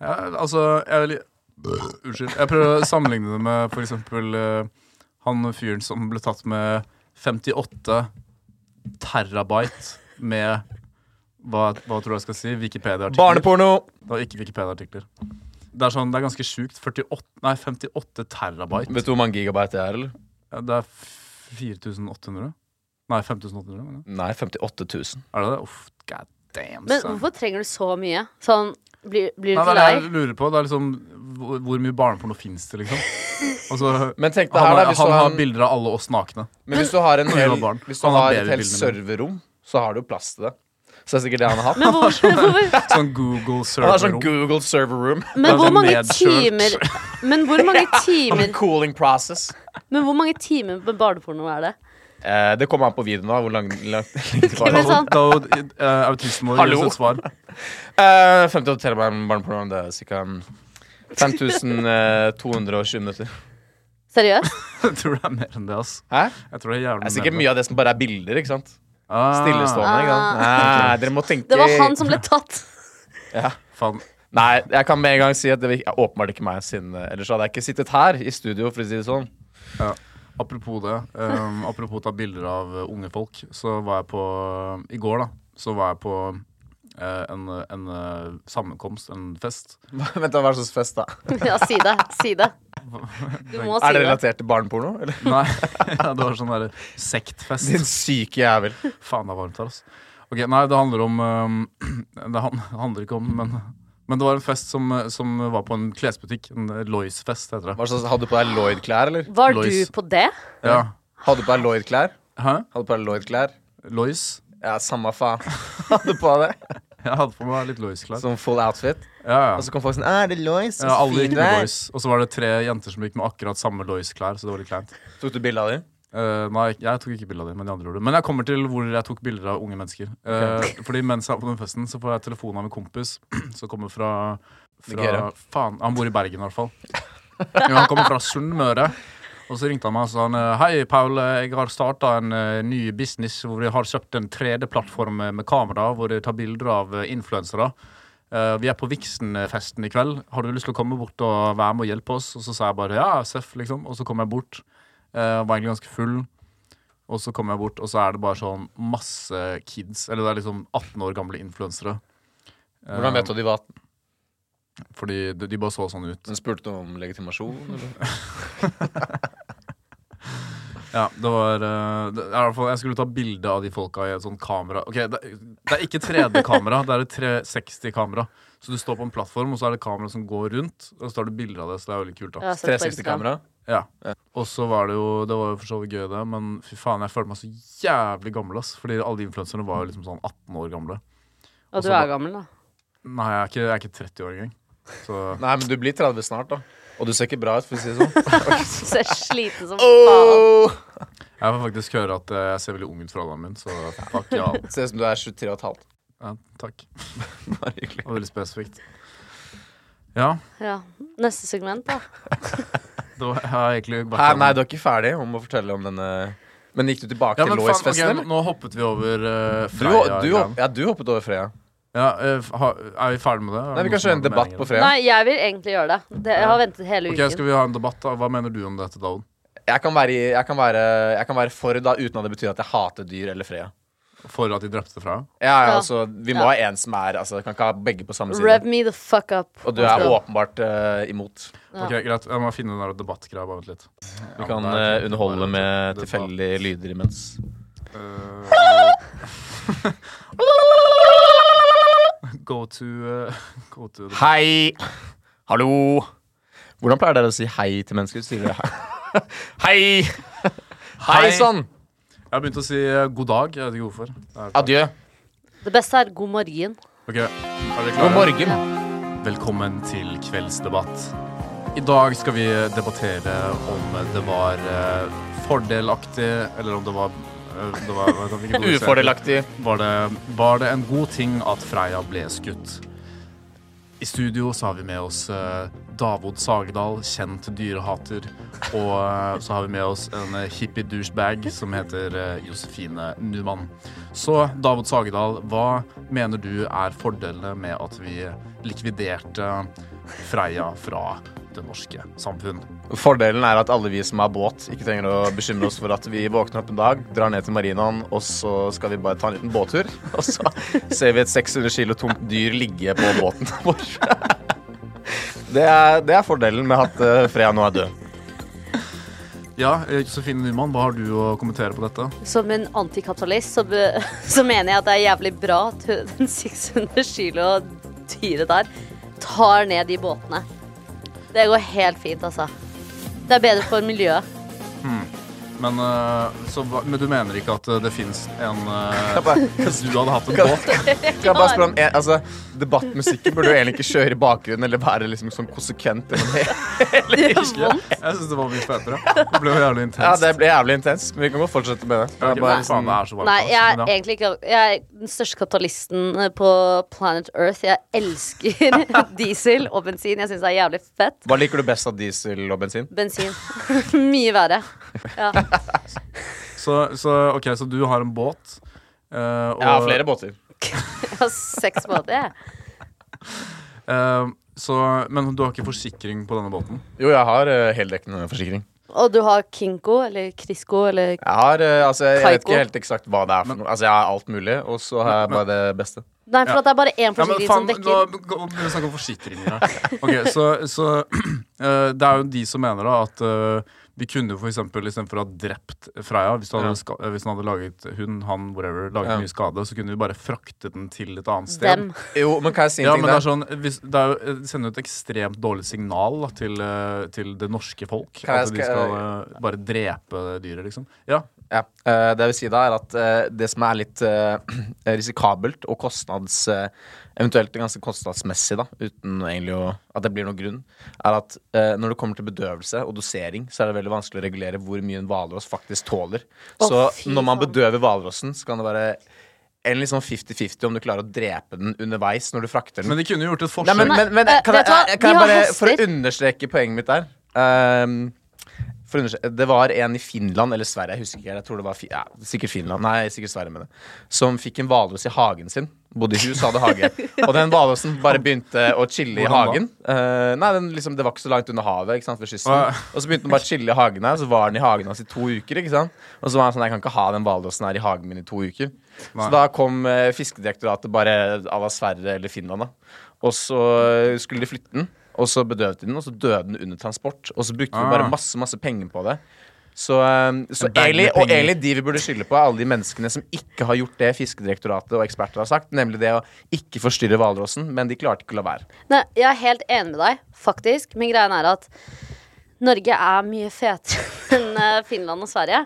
[SPEAKER 1] ja, Altså, jeg vil Unnskyld. Jeg prøver å sammenligne det med for eksempel eh, han fyren som ble tatt med 58 terabyte med hva, hva tror du jeg skal si? Wikipedia-artikler?
[SPEAKER 3] Barneporno!
[SPEAKER 1] Det var ikke Wikipedia-artikler. Det er sånn, det er ganske sjukt. 48, nei, 58 terabyte.
[SPEAKER 3] Vet du hvor mange gigabyte det er, eller?
[SPEAKER 1] Ja, Det er f- 4800? Nei, 5800. mener jeg.
[SPEAKER 3] Nei, 58 000.
[SPEAKER 1] Er det det? Uff, god damn.
[SPEAKER 2] Men
[SPEAKER 1] son.
[SPEAKER 2] hvorfor trenger du så mye? Sånn, blir, blir du
[SPEAKER 1] Nei,
[SPEAKER 2] ikke
[SPEAKER 1] det
[SPEAKER 2] lei?
[SPEAKER 1] er det jeg lurer på. Det er liksom hvor, hvor mye barneporno fins det, liksom? Altså,
[SPEAKER 3] Men tenk deg
[SPEAKER 1] han,
[SPEAKER 3] her, da.
[SPEAKER 1] har-
[SPEAKER 3] Hvis du
[SPEAKER 1] han
[SPEAKER 3] har,
[SPEAKER 1] har bilder av alle oss nakne.
[SPEAKER 3] men hvis du har, en hel,
[SPEAKER 1] Han har barn.
[SPEAKER 3] hvis du
[SPEAKER 1] Han har
[SPEAKER 3] har et helt
[SPEAKER 1] babybildene
[SPEAKER 3] serverrom, så har du jo plass til det. Så det er sikkert [laughs] det han har hatt.
[SPEAKER 2] Men hvor, hvor,
[SPEAKER 1] Sånn Google
[SPEAKER 3] [laughs] Han har sånn
[SPEAKER 1] server-rom.
[SPEAKER 3] Google server room.
[SPEAKER 2] men hvor mange
[SPEAKER 1] Nedkjørt.
[SPEAKER 2] timer Men hvor mange timer
[SPEAKER 3] Cooling process.
[SPEAKER 2] Men hvor mange timer med barneporno er det?
[SPEAKER 3] Eh, det kommer an på videoen, da. Hvor [laughs] lang, lang, det var.
[SPEAKER 1] Da-
[SPEAKER 2] men sånn-
[SPEAKER 1] da- eh, Autisme og
[SPEAKER 3] Hallo?
[SPEAKER 1] gir oss et svar. [laughs]
[SPEAKER 3] Eh, 58 terabyte barneprogram, det er ca. eh, 5220 minutter.
[SPEAKER 2] Seriøst?
[SPEAKER 1] Jeg tror det er mer enn det, ass.
[SPEAKER 3] Hæ?
[SPEAKER 1] Jeg tror det er
[SPEAKER 3] Det er
[SPEAKER 1] jævlig
[SPEAKER 3] sikkert
[SPEAKER 1] mer enn det.
[SPEAKER 3] mye av det som bare er bilder. ikke sant?
[SPEAKER 1] Ah,
[SPEAKER 3] Stillestående. ikke sant? Nei, dere må tenke
[SPEAKER 2] Det var han som ble tatt. [laughs]
[SPEAKER 1] Faen.
[SPEAKER 3] Nei, jeg kan med en gang si at det vir- er åpenbart ikke meg sin eh, Ellers hadde jeg ikke sittet her i studio, for å si det sånn.
[SPEAKER 1] Apropos det, eh, apropos ta bilder av eh, unge folk, så var jeg på I går, da, så var jeg på eh, en, en eh, sammenkomst, en fest.
[SPEAKER 3] [laughs] Vent, da, hva er det slags fest, da?
[SPEAKER 2] Ja, si det. Si det. Du må
[SPEAKER 3] Er
[SPEAKER 2] si
[SPEAKER 3] det
[SPEAKER 2] det.
[SPEAKER 3] relatert til barneporno? Eller?
[SPEAKER 1] Nei, [laughs] ja, det var sånn derre sektfest.
[SPEAKER 3] [laughs] Din syke jævel.
[SPEAKER 1] Faen, det er varmt her, altså. Ok, nei, det handler om eh, [clears throat] Det han- handler ikke om, men men det var en fest som, eh, som var på en klesbutikk. En eh, Lois-fest, heter det.
[SPEAKER 3] Hva slags, hadde du på deg Lloyd-klær, eller?
[SPEAKER 2] Var du
[SPEAKER 1] Lois.
[SPEAKER 2] på det?
[SPEAKER 1] Ja.
[SPEAKER 3] Hadde du på deg Lloyd-klær?
[SPEAKER 1] Hæ?
[SPEAKER 3] Hadde du på deg Lloyd-klær?
[SPEAKER 1] Lois?
[SPEAKER 3] Ja, samme faen. [laughs] Hadde du på deg det?
[SPEAKER 1] Jeg hadde på meg litt Lois-klær.
[SPEAKER 3] Som full outfit?
[SPEAKER 1] Ja, ja.
[SPEAKER 3] Og så kom folk sånn Er det Lois? Så
[SPEAKER 1] Ja, alle
[SPEAKER 3] fin
[SPEAKER 1] gikk
[SPEAKER 3] du
[SPEAKER 1] med
[SPEAKER 3] er.
[SPEAKER 1] Lois. Og så var det tre jenter som gikk med akkurat samme Lois-klær. Så det var litt kleint.
[SPEAKER 3] Tok du bilde av dem?
[SPEAKER 1] Eh, nei, jeg tok ikke bilde av dem, men de andre gjorde det. Men jeg kommer til hvor jeg tok bilder av unge mennesker. Eh, Fordi mens jeg er på den festen, så får jeg telefon av en kompis [clears throat] som kommer fra, fra
[SPEAKER 3] Nigeria.
[SPEAKER 1] Faen, han bor i Bergen i hvert fall. Jo, han kommer fra Sunnmøre. Og så ringte han meg og sa han, eh, Hei, Paul, jeg har starta en eh, ny business hvor jeg har kjøpt en 3D-plattform med kamera hvor jeg tar bilder av eh, influensere. Eh, vi er på Vixen-festen i kveld. Har du lyst til å komme bort og være med og hjelpe oss? Og så sa jeg bare ja, seff, liksom. Og så kom jeg bort. Eh, var egentlig ganske full. Og så kommer jeg bort, og så er det bare sånn masse kids. Eller det er liksom 18 år gamle influensere. Eh,
[SPEAKER 3] Hvordan vet du de var
[SPEAKER 1] Fordi de, de bare så sånn ut.
[SPEAKER 3] Den spurte om legitimasjon?
[SPEAKER 2] [laughs]
[SPEAKER 3] Eller?
[SPEAKER 1] Ja, det var eh, det, i hvert fall, Jeg skulle ta bilde av de folka i et sånt kamera. Ok, Det, det er ikke 3D-kamera, det er et 360-kamera. Så du står på en plattform, og så er det kamera som går rundt. Og så tar du bilder av det, så det er jo litt kult. da
[SPEAKER 2] Jeg har sett på Instagram.
[SPEAKER 3] 360-kamera?
[SPEAKER 1] Ja. Og så var det jo Det var jo for så vidt gøy, det, men fy faen, jeg følte meg så jævlig gammel, ass. Fordi alle de influenserne var jo liksom sånn 18 år gamle.
[SPEAKER 2] Og du
[SPEAKER 1] Også-
[SPEAKER 2] er gammel, da.
[SPEAKER 1] Nei, jeg er ikke, jeg er ikke 30 år engang. Så
[SPEAKER 3] Nei, men du blir 30 snart, da. Og du ser ikke bra ut, for å si det [laughs] sånn.
[SPEAKER 2] Du ser sliten som faen.
[SPEAKER 1] jeg får faktisk høre at eh, jeg ser veldig ung ut fra alderen min, så fuck ja.
[SPEAKER 3] Ser ut som du er 23 og et halvt.
[SPEAKER 1] ja takk.
[SPEAKER 3] Bare
[SPEAKER 1] Det
[SPEAKER 3] hyggelig.
[SPEAKER 1] var veldig spesifikt. Ja,
[SPEAKER 2] Ja. Neste segment,
[SPEAKER 3] [laughs]
[SPEAKER 2] da.
[SPEAKER 1] det var, jeg har egentlig vært
[SPEAKER 3] Hæ,
[SPEAKER 1] gjennom-
[SPEAKER 3] nei, du er ikke ferdig om å fortelle om denne Men gikk du tilbake
[SPEAKER 1] ja,
[SPEAKER 3] til
[SPEAKER 1] men faen, ok,
[SPEAKER 3] Lois-festen? eller?
[SPEAKER 1] Nå hoppet vi over uh,
[SPEAKER 3] Du, hop-
[SPEAKER 1] Freia.
[SPEAKER 3] du, hop- ja, du hoppet over Freya.
[SPEAKER 1] ja, eh, f- ha, er vi ferdig med det? Er det
[SPEAKER 3] Nei, Vi
[SPEAKER 1] noen
[SPEAKER 3] kan
[SPEAKER 1] som
[SPEAKER 3] kjøre
[SPEAKER 1] har
[SPEAKER 3] en
[SPEAKER 1] noen
[SPEAKER 3] debatt
[SPEAKER 1] meninger?
[SPEAKER 3] på Freya.
[SPEAKER 2] Nei, jeg vil egentlig gjøre det. det jeg har ventet hele
[SPEAKER 1] Ok,
[SPEAKER 2] uken.
[SPEAKER 1] Skal vi ha en debatt, da? Hva mener du om dette, Daun?
[SPEAKER 3] Jeg kan, være, i- jeg, kan være, jeg kan være for da, uten at det betyr at jeg hater dyr eller Freya.
[SPEAKER 1] For at de drepte Freia?
[SPEAKER 3] Ja, ja,
[SPEAKER 2] Ja.
[SPEAKER 3] altså, vi må
[SPEAKER 2] Ja.
[SPEAKER 3] ha en som er altså, Kan ikke ha begge på samme side.
[SPEAKER 2] Rev me the fuck up.
[SPEAKER 3] Og du er åpenbart eh, imot.
[SPEAKER 2] Ja.
[SPEAKER 1] Ok, greit. Jeg må finne den der debattgreia. Bare vent litt.
[SPEAKER 3] Vi kan eh, underholde med tilfeldige lyder imens.
[SPEAKER 1] [laughs] Go to, eh, go to the
[SPEAKER 3] Hei! Hallo! Hvordan pleier dere å si hei til mennesker? Sier dere hei? [laughs] Hei! Hei
[SPEAKER 1] Hei.
[SPEAKER 3] sann!
[SPEAKER 1] Jeg har begynt å si eh, god dag. Jeg vet ikke hvorfor. Det er-
[SPEAKER 3] Adjø.
[SPEAKER 2] Det beste er god morgen.
[SPEAKER 1] Ok, er dere
[SPEAKER 3] God
[SPEAKER 1] klare?
[SPEAKER 3] morgen.
[SPEAKER 1] Velkommen til kveldsdebatt. I dag skal vi debattere om det var eh, fordelaktig, eller om det var, eh, det var hva- hvilket ord skal jeg-
[SPEAKER 3] [laughs] Ufordelaktig.
[SPEAKER 1] var det, var det en god ting at Freia ble skutt. I studio så har vi med oss eh, Davod Sagedal, kjent dyrehater. Og eh, så har vi med oss en eh, hippie douchebag som heter eh, Josefine Numan. Så Davod Sagedal, hva mener du er fordelene med at vi likviderte Freia fra det norske samfunn?
[SPEAKER 3] Fordelen er at alle vi som har båt, ikke trenger å bekymre oss for at vi våkner opp en dag, drar ned til marinaen, og så skal vi bare ta en liten båttur. [laughs] Og så ser vi et 600 kilo tungt dyr ligge på båten [laughs] vår. Det er, det er fordelen med at eh, Freya nå er død.
[SPEAKER 1] Ja, Josefine Nyman, hva har du å kommentere på dette?
[SPEAKER 2] Som en antikapitalist så, be, [laughs] så mener jeg at det er jævlig bra at hun- [laughs] den 600 kilo dyret der tar ned de båtene. Det går helt fint, altså. Det er bedre for
[SPEAKER 3] [laughs]
[SPEAKER 2] miljøet.
[SPEAKER 1] Men, eh, så, hva- men du mener ikke at eh, det fins en eh,
[SPEAKER 3] Jeg bare,
[SPEAKER 1] Du hadde hatt en båt?
[SPEAKER 3] Kan jeg bare
[SPEAKER 2] [laughs]
[SPEAKER 3] spørre om en, altså, Debattmusikken burde jo egentlig ikke kjøre i bakgrunnen eller være liksom sånn konsekvent. gjennom det.
[SPEAKER 2] Det gjør vondt.
[SPEAKER 1] Jeg syns det var mye fetere. Det ble jo jævlig intenst.
[SPEAKER 3] [laughs] Ja, Det ble jævlig intenst, men vi kan godt fortsette med det. Det er
[SPEAKER 1] Ok,
[SPEAKER 3] bare
[SPEAKER 1] faen,
[SPEAKER 3] sånn-
[SPEAKER 1] det er så varmt,
[SPEAKER 2] Nei, jeg er
[SPEAKER 1] ass, men ja.
[SPEAKER 2] egentlig ikke Jeg er den største kapitalisten eh, på planet Earth. Jeg elsker [laughs] diesel og bensin. Jeg syns det er jævlig fett.
[SPEAKER 3] Hva liker du best av diesel og bensin?
[SPEAKER 2] Bensin. [laughs] Mye verre. Ja.
[SPEAKER 1] så, så, ok, så du har en båt. eh, og,
[SPEAKER 3] Jeg har flere båter.
[SPEAKER 2] Jeg har seks måneder, jeg.
[SPEAKER 1] eh, så, men du har ikke forsikring på denne båten?
[SPEAKER 3] Jo, jeg har eh, heldekkende forsikring.
[SPEAKER 2] Og du har Kinko eller Krisko eller
[SPEAKER 3] Jeg har, eh, altså, jeg vet
[SPEAKER 2] Kaiko.
[SPEAKER 3] ikke helt eksakt hva det er for noe. Altså, jeg har alt mulig, og så har jeg bare det beste.
[SPEAKER 2] Nei, for at det er bare én
[SPEAKER 1] Ja, men
[SPEAKER 2] forsikring
[SPEAKER 1] faen,
[SPEAKER 2] som
[SPEAKER 1] nå
[SPEAKER 2] dekker
[SPEAKER 1] begynner vi å snakke om forsikringer her. Ok, så, så [clears throat] eh, det er jo de som mener da at eh, vi kunne jo for eksempel istedenfor å ha drept Freya hvis, du hadde,
[SPEAKER 3] Ja.
[SPEAKER 1] ska- eh, hvis hun hadde laget hun, han, whatever, laget
[SPEAKER 3] Ja.
[SPEAKER 1] mye skade, så kunne vi bare fraktet den til et annet sted.
[SPEAKER 2] dem.
[SPEAKER 3] Jo, men kan jeg si en
[SPEAKER 1] Ja,
[SPEAKER 3] ting
[SPEAKER 1] men det, er
[SPEAKER 3] der?
[SPEAKER 1] sånn, hvis, det er jo, det sender jo et ekstremt dårlig signal da, til, eh, til det norske folk.
[SPEAKER 3] Kan jeg-
[SPEAKER 1] at de
[SPEAKER 3] skal-
[SPEAKER 1] skal eh, bare drepe dyret, liksom. Ja,
[SPEAKER 3] Ja. eh, det jeg vil si da, er at eh, det som er litt eh, [clears throat] risikabelt og kostnads... eh, eventuelt ganske kostnadsmessig, da, uten egentlig å, at det blir noen grunn, er at eh, når det kommer til bedøvelse og dosering, så er det veldig vanskelig å regulere hvor mye en hvalross faktisk tåler.
[SPEAKER 2] Å,
[SPEAKER 3] så
[SPEAKER 2] fy
[SPEAKER 3] når man
[SPEAKER 2] faen.
[SPEAKER 3] bedøver hvalrossen, så kan det være en litt sånn 50-50 om du klarer å drepe den underveis når du frakter den.
[SPEAKER 1] Men de kunne jo gjort et
[SPEAKER 3] Nei,
[SPEAKER 1] forsøk.
[SPEAKER 3] men, men, men
[SPEAKER 2] Eh,
[SPEAKER 3] kan, jeg,
[SPEAKER 2] vet du hva?
[SPEAKER 3] jeg, kan jeg
[SPEAKER 2] De har
[SPEAKER 3] bare For å
[SPEAKER 2] hester.
[SPEAKER 3] understreke poenget mitt der ehm, for å understreke, Det var en i Finland eller Sverige, jeg husker ikke. Jeg tror det var fi, ja, sikkert Finland, nei, sikkert Sverige, mener jeg. Som fikk en hvalross i hagen sin. Bodde i hus, hadde hage. Og den hvalrossen bare begynte å chille i
[SPEAKER 1] Hvordan
[SPEAKER 3] hagen. Eh, nei, den liksom, Det var ikke så langt under havet. ikke sant, ved kysten
[SPEAKER 1] Ah, ja.
[SPEAKER 3] Og så begynte den bare å chille i hagen her, så var den i hagen hans i to uker. ikke sant Og så var han sånn Jeg kan ikke ha den hvalrossen her i hagen min i to uker.
[SPEAKER 1] Nei.
[SPEAKER 3] Så da kom eh, Fiskedirektoratet bare à la Sverige eller Finland, da. Og så eh, skulle de flytte den, og så bedøvde de den, og så døde den under transport. Og så brukte
[SPEAKER 1] Ah.
[SPEAKER 3] vi bare masse, masse penger på det. Så, eh, så
[SPEAKER 1] En bag med
[SPEAKER 3] egentlig, og
[SPEAKER 1] penger.
[SPEAKER 3] egentlig de vi burde skylde på, er alle de menneskene som ikke har gjort det Fiskedirektoratet og eksperter har sagt, nemlig det å ikke forstyrre hvalrossen, men de klarte ikke å la være.
[SPEAKER 2] Nei, jeg er helt enig med deg, faktisk. Men greien er at Norge er mye fetere [laughs] enn eh, Finland og Sverige.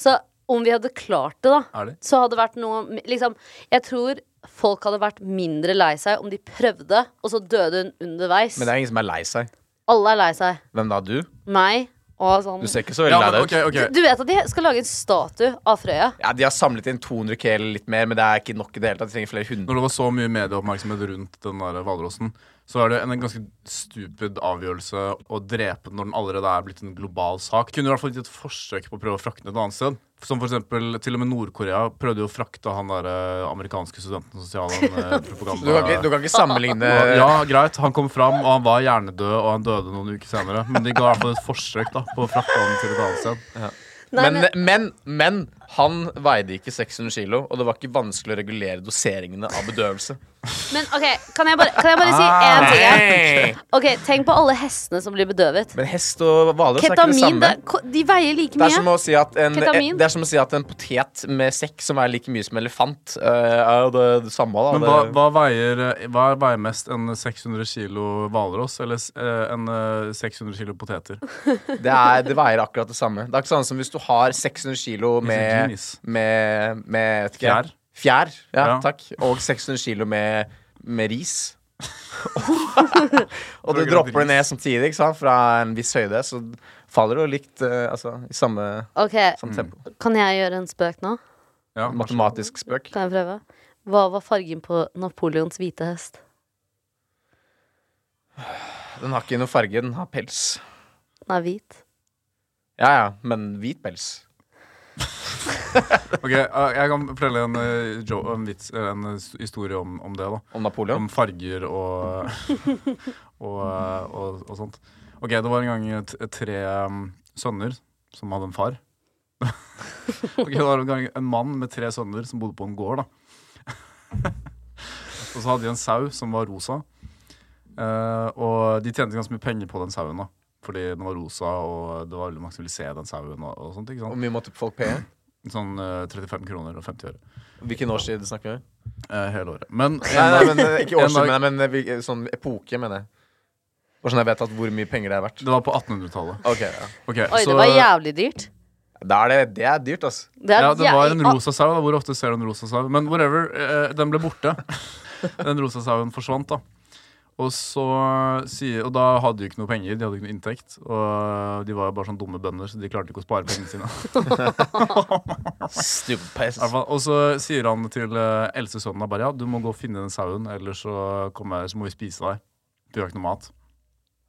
[SPEAKER 2] Så om vi hadde klart det, da,
[SPEAKER 1] Er det?
[SPEAKER 2] så hadde det vært noe liksom, Jeg tror folk hadde vært mindre lei seg om de prøvde, og så døde hun underveis.
[SPEAKER 3] Men det er ingen som er lei seg.
[SPEAKER 2] Alle er lei seg.
[SPEAKER 3] Hvem da? Du?
[SPEAKER 2] Meg og sånn.
[SPEAKER 3] Du ser ikke så veldig
[SPEAKER 1] ja,
[SPEAKER 3] lei
[SPEAKER 1] men
[SPEAKER 3] deg ut.
[SPEAKER 1] ok, ok.
[SPEAKER 2] Du vet at de skal lage en statue av Frøya?
[SPEAKER 3] Ja, De har samlet inn 200 K eller litt mer, men det er ikke nok i det hele tatt. De trenger flere hundre.
[SPEAKER 1] Når det var så mye medieoppmerksomhet rundt den der hvalrossen, så er det en ganske stupid avgjørelse å drepe den når den allerede er blitt en global sak. Kunne i hvert fall gitt et forsøk på å prøve å frakte den et annet sted. Som for eksempel, til og med Nord-Korea prødde jo å frakte han der eh, amerikanske studenten sosial eh,
[SPEAKER 3] [laughs] Du kan ikke, du
[SPEAKER 1] propaganda.
[SPEAKER 3] kan ikke sammenligne
[SPEAKER 1] [laughs] Ja, greit, han kom fram, og han var hjernedød, og han døde noen uker senere. Men de ga i hvert fall et forsøk da, på å frakte han til et annet sted.
[SPEAKER 2] Nei,
[SPEAKER 3] men, men, men han veide ikke 600 kilo, og det var ikke vanskelig å regulere doseringene av bedøvelse.
[SPEAKER 2] Men ok, kan jeg bare, kan jeg bare si én ting? her? Ok, Tenk på alle hestene som blir bedøvet.
[SPEAKER 3] [laughs] Men hest og hvalross er ikke det
[SPEAKER 2] Ketamin,
[SPEAKER 3] samme.
[SPEAKER 2] det, ko- de veier like
[SPEAKER 3] Det er, som
[SPEAKER 2] mye.
[SPEAKER 3] å si at en,
[SPEAKER 2] Ketamin.
[SPEAKER 3] det er som å si at en potet med sekk som er like mye som elefant, eh, er jo det, det samme. Da.
[SPEAKER 1] Men hva,
[SPEAKER 3] Det-
[SPEAKER 1] hva, veier, hva veier mest, en 600 kilo hvalross eller s- eh, en eh, 600 kilo poteter?
[SPEAKER 3] Det, er, det veier akkurat det samme. Det er ikke sånn som hvis du har 600 kilo med,
[SPEAKER 1] Jeez.
[SPEAKER 3] med, med vet ikke, jeg.
[SPEAKER 1] Fjær.
[SPEAKER 3] Fjær, ja,
[SPEAKER 1] Ja.
[SPEAKER 3] takk. Og 600 kilo med, med
[SPEAKER 1] [laughs]
[SPEAKER 3] ris. og du
[SPEAKER 1] Programmet
[SPEAKER 3] dropper det ned
[SPEAKER 1] ris.
[SPEAKER 3] samtidig, ikke sant? fra en viss høyde. Så faller det jo likt eh, altså, i samme,
[SPEAKER 2] Ok,
[SPEAKER 1] Mm,
[SPEAKER 3] samme tempo.
[SPEAKER 2] Kan jeg gjøre en spøk nå?
[SPEAKER 1] Ja,
[SPEAKER 3] Matematisk spøk.
[SPEAKER 2] Kan jeg prøve? Hva var fargen på Napoleons hvite hest?
[SPEAKER 3] Den har ikke noe farge, den har pels.
[SPEAKER 2] Den er hvit.
[SPEAKER 3] Ja ja, men hvit pels.
[SPEAKER 1] Ok, eh, Jeg kan fortelle en, eh, jo, en, vits, eller en eh, s- historie om, om det. da
[SPEAKER 3] Om Napoleon.
[SPEAKER 1] Om farger og, [laughs] og, eh, og, og sånt. Ok, Det var en gang eh, t- tre eh, sønner som hadde en far. [laughs] ok, Det var en gang en mann med tre sønner som bodde på en gård. da [laughs] Og så hadde de en sau som var rosa. Eh, og de tjente ganske mye penger på den sauen. da Fordi den var rosa, og det var veldig mange som ville se den sauen. Og, og sånt, ikke
[SPEAKER 3] Hvor
[SPEAKER 1] sant?
[SPEAKER 3] mye måtte folk paye?
[SPEAKER 1] Sånn eh, 35 kroner og 50 øre.
[SPEAKER 3] Hvilken årstid snakker vi om?
[SPEAKER 1] eh, hele året. Men,
[SPEAKER 2] [laughs]
[SPEAKER 3] Nei, nei, men eh, ikke
[SPEAKER 1] en
[SPEAKER 3] årstid,
[SPEAKER 1] dag-
[SPEAKER 3] men, men eh, hvil- sånn epoke, mener jeg. Bare sånn jeg vet at hvor mye penger det er verdt.
[SPEAKER 1] det var på 1800-tallet.
[SPEAKER 3] Ok, ja.
[SPEAKER 1] Ok,
[SPEAKER 2] Oi,
[SPEAKER 1] så-
[SPEAKER 2] det var jævlig dyrt.
[SPEAKER 3] Da er det, det er dyrt, altså.
[SPEAKER 2] Det er
[SPEAKER 1] Ja, det
[SPEAKER 2] jæv-
[SPEAKER 1] var en
[SPEAKER 2] Ah,
[SPEAKER 1] rosa sau. da. Hvor ofte ser du en rosa sau? Men whatever, eh, den ble borte. [laughs] Den rosa sauen forsvant, da. Og, så, sier- og da hadde de jo ikke noe penger, de hadde ikke noe inntekt. Og de var jo bare sånn dumme bønder, så de klarte ikke å spare pengene sine. [laughs] I
[SPEAKER 3] Stupid pace.
[SPEAKER 1] hvert fall. Og så sier han til eh, eldste sønnen bare ja, du må gå og finne den sauen, ellers så, kommer, jeg- så må vi spise deg. Du har ikke noe mat.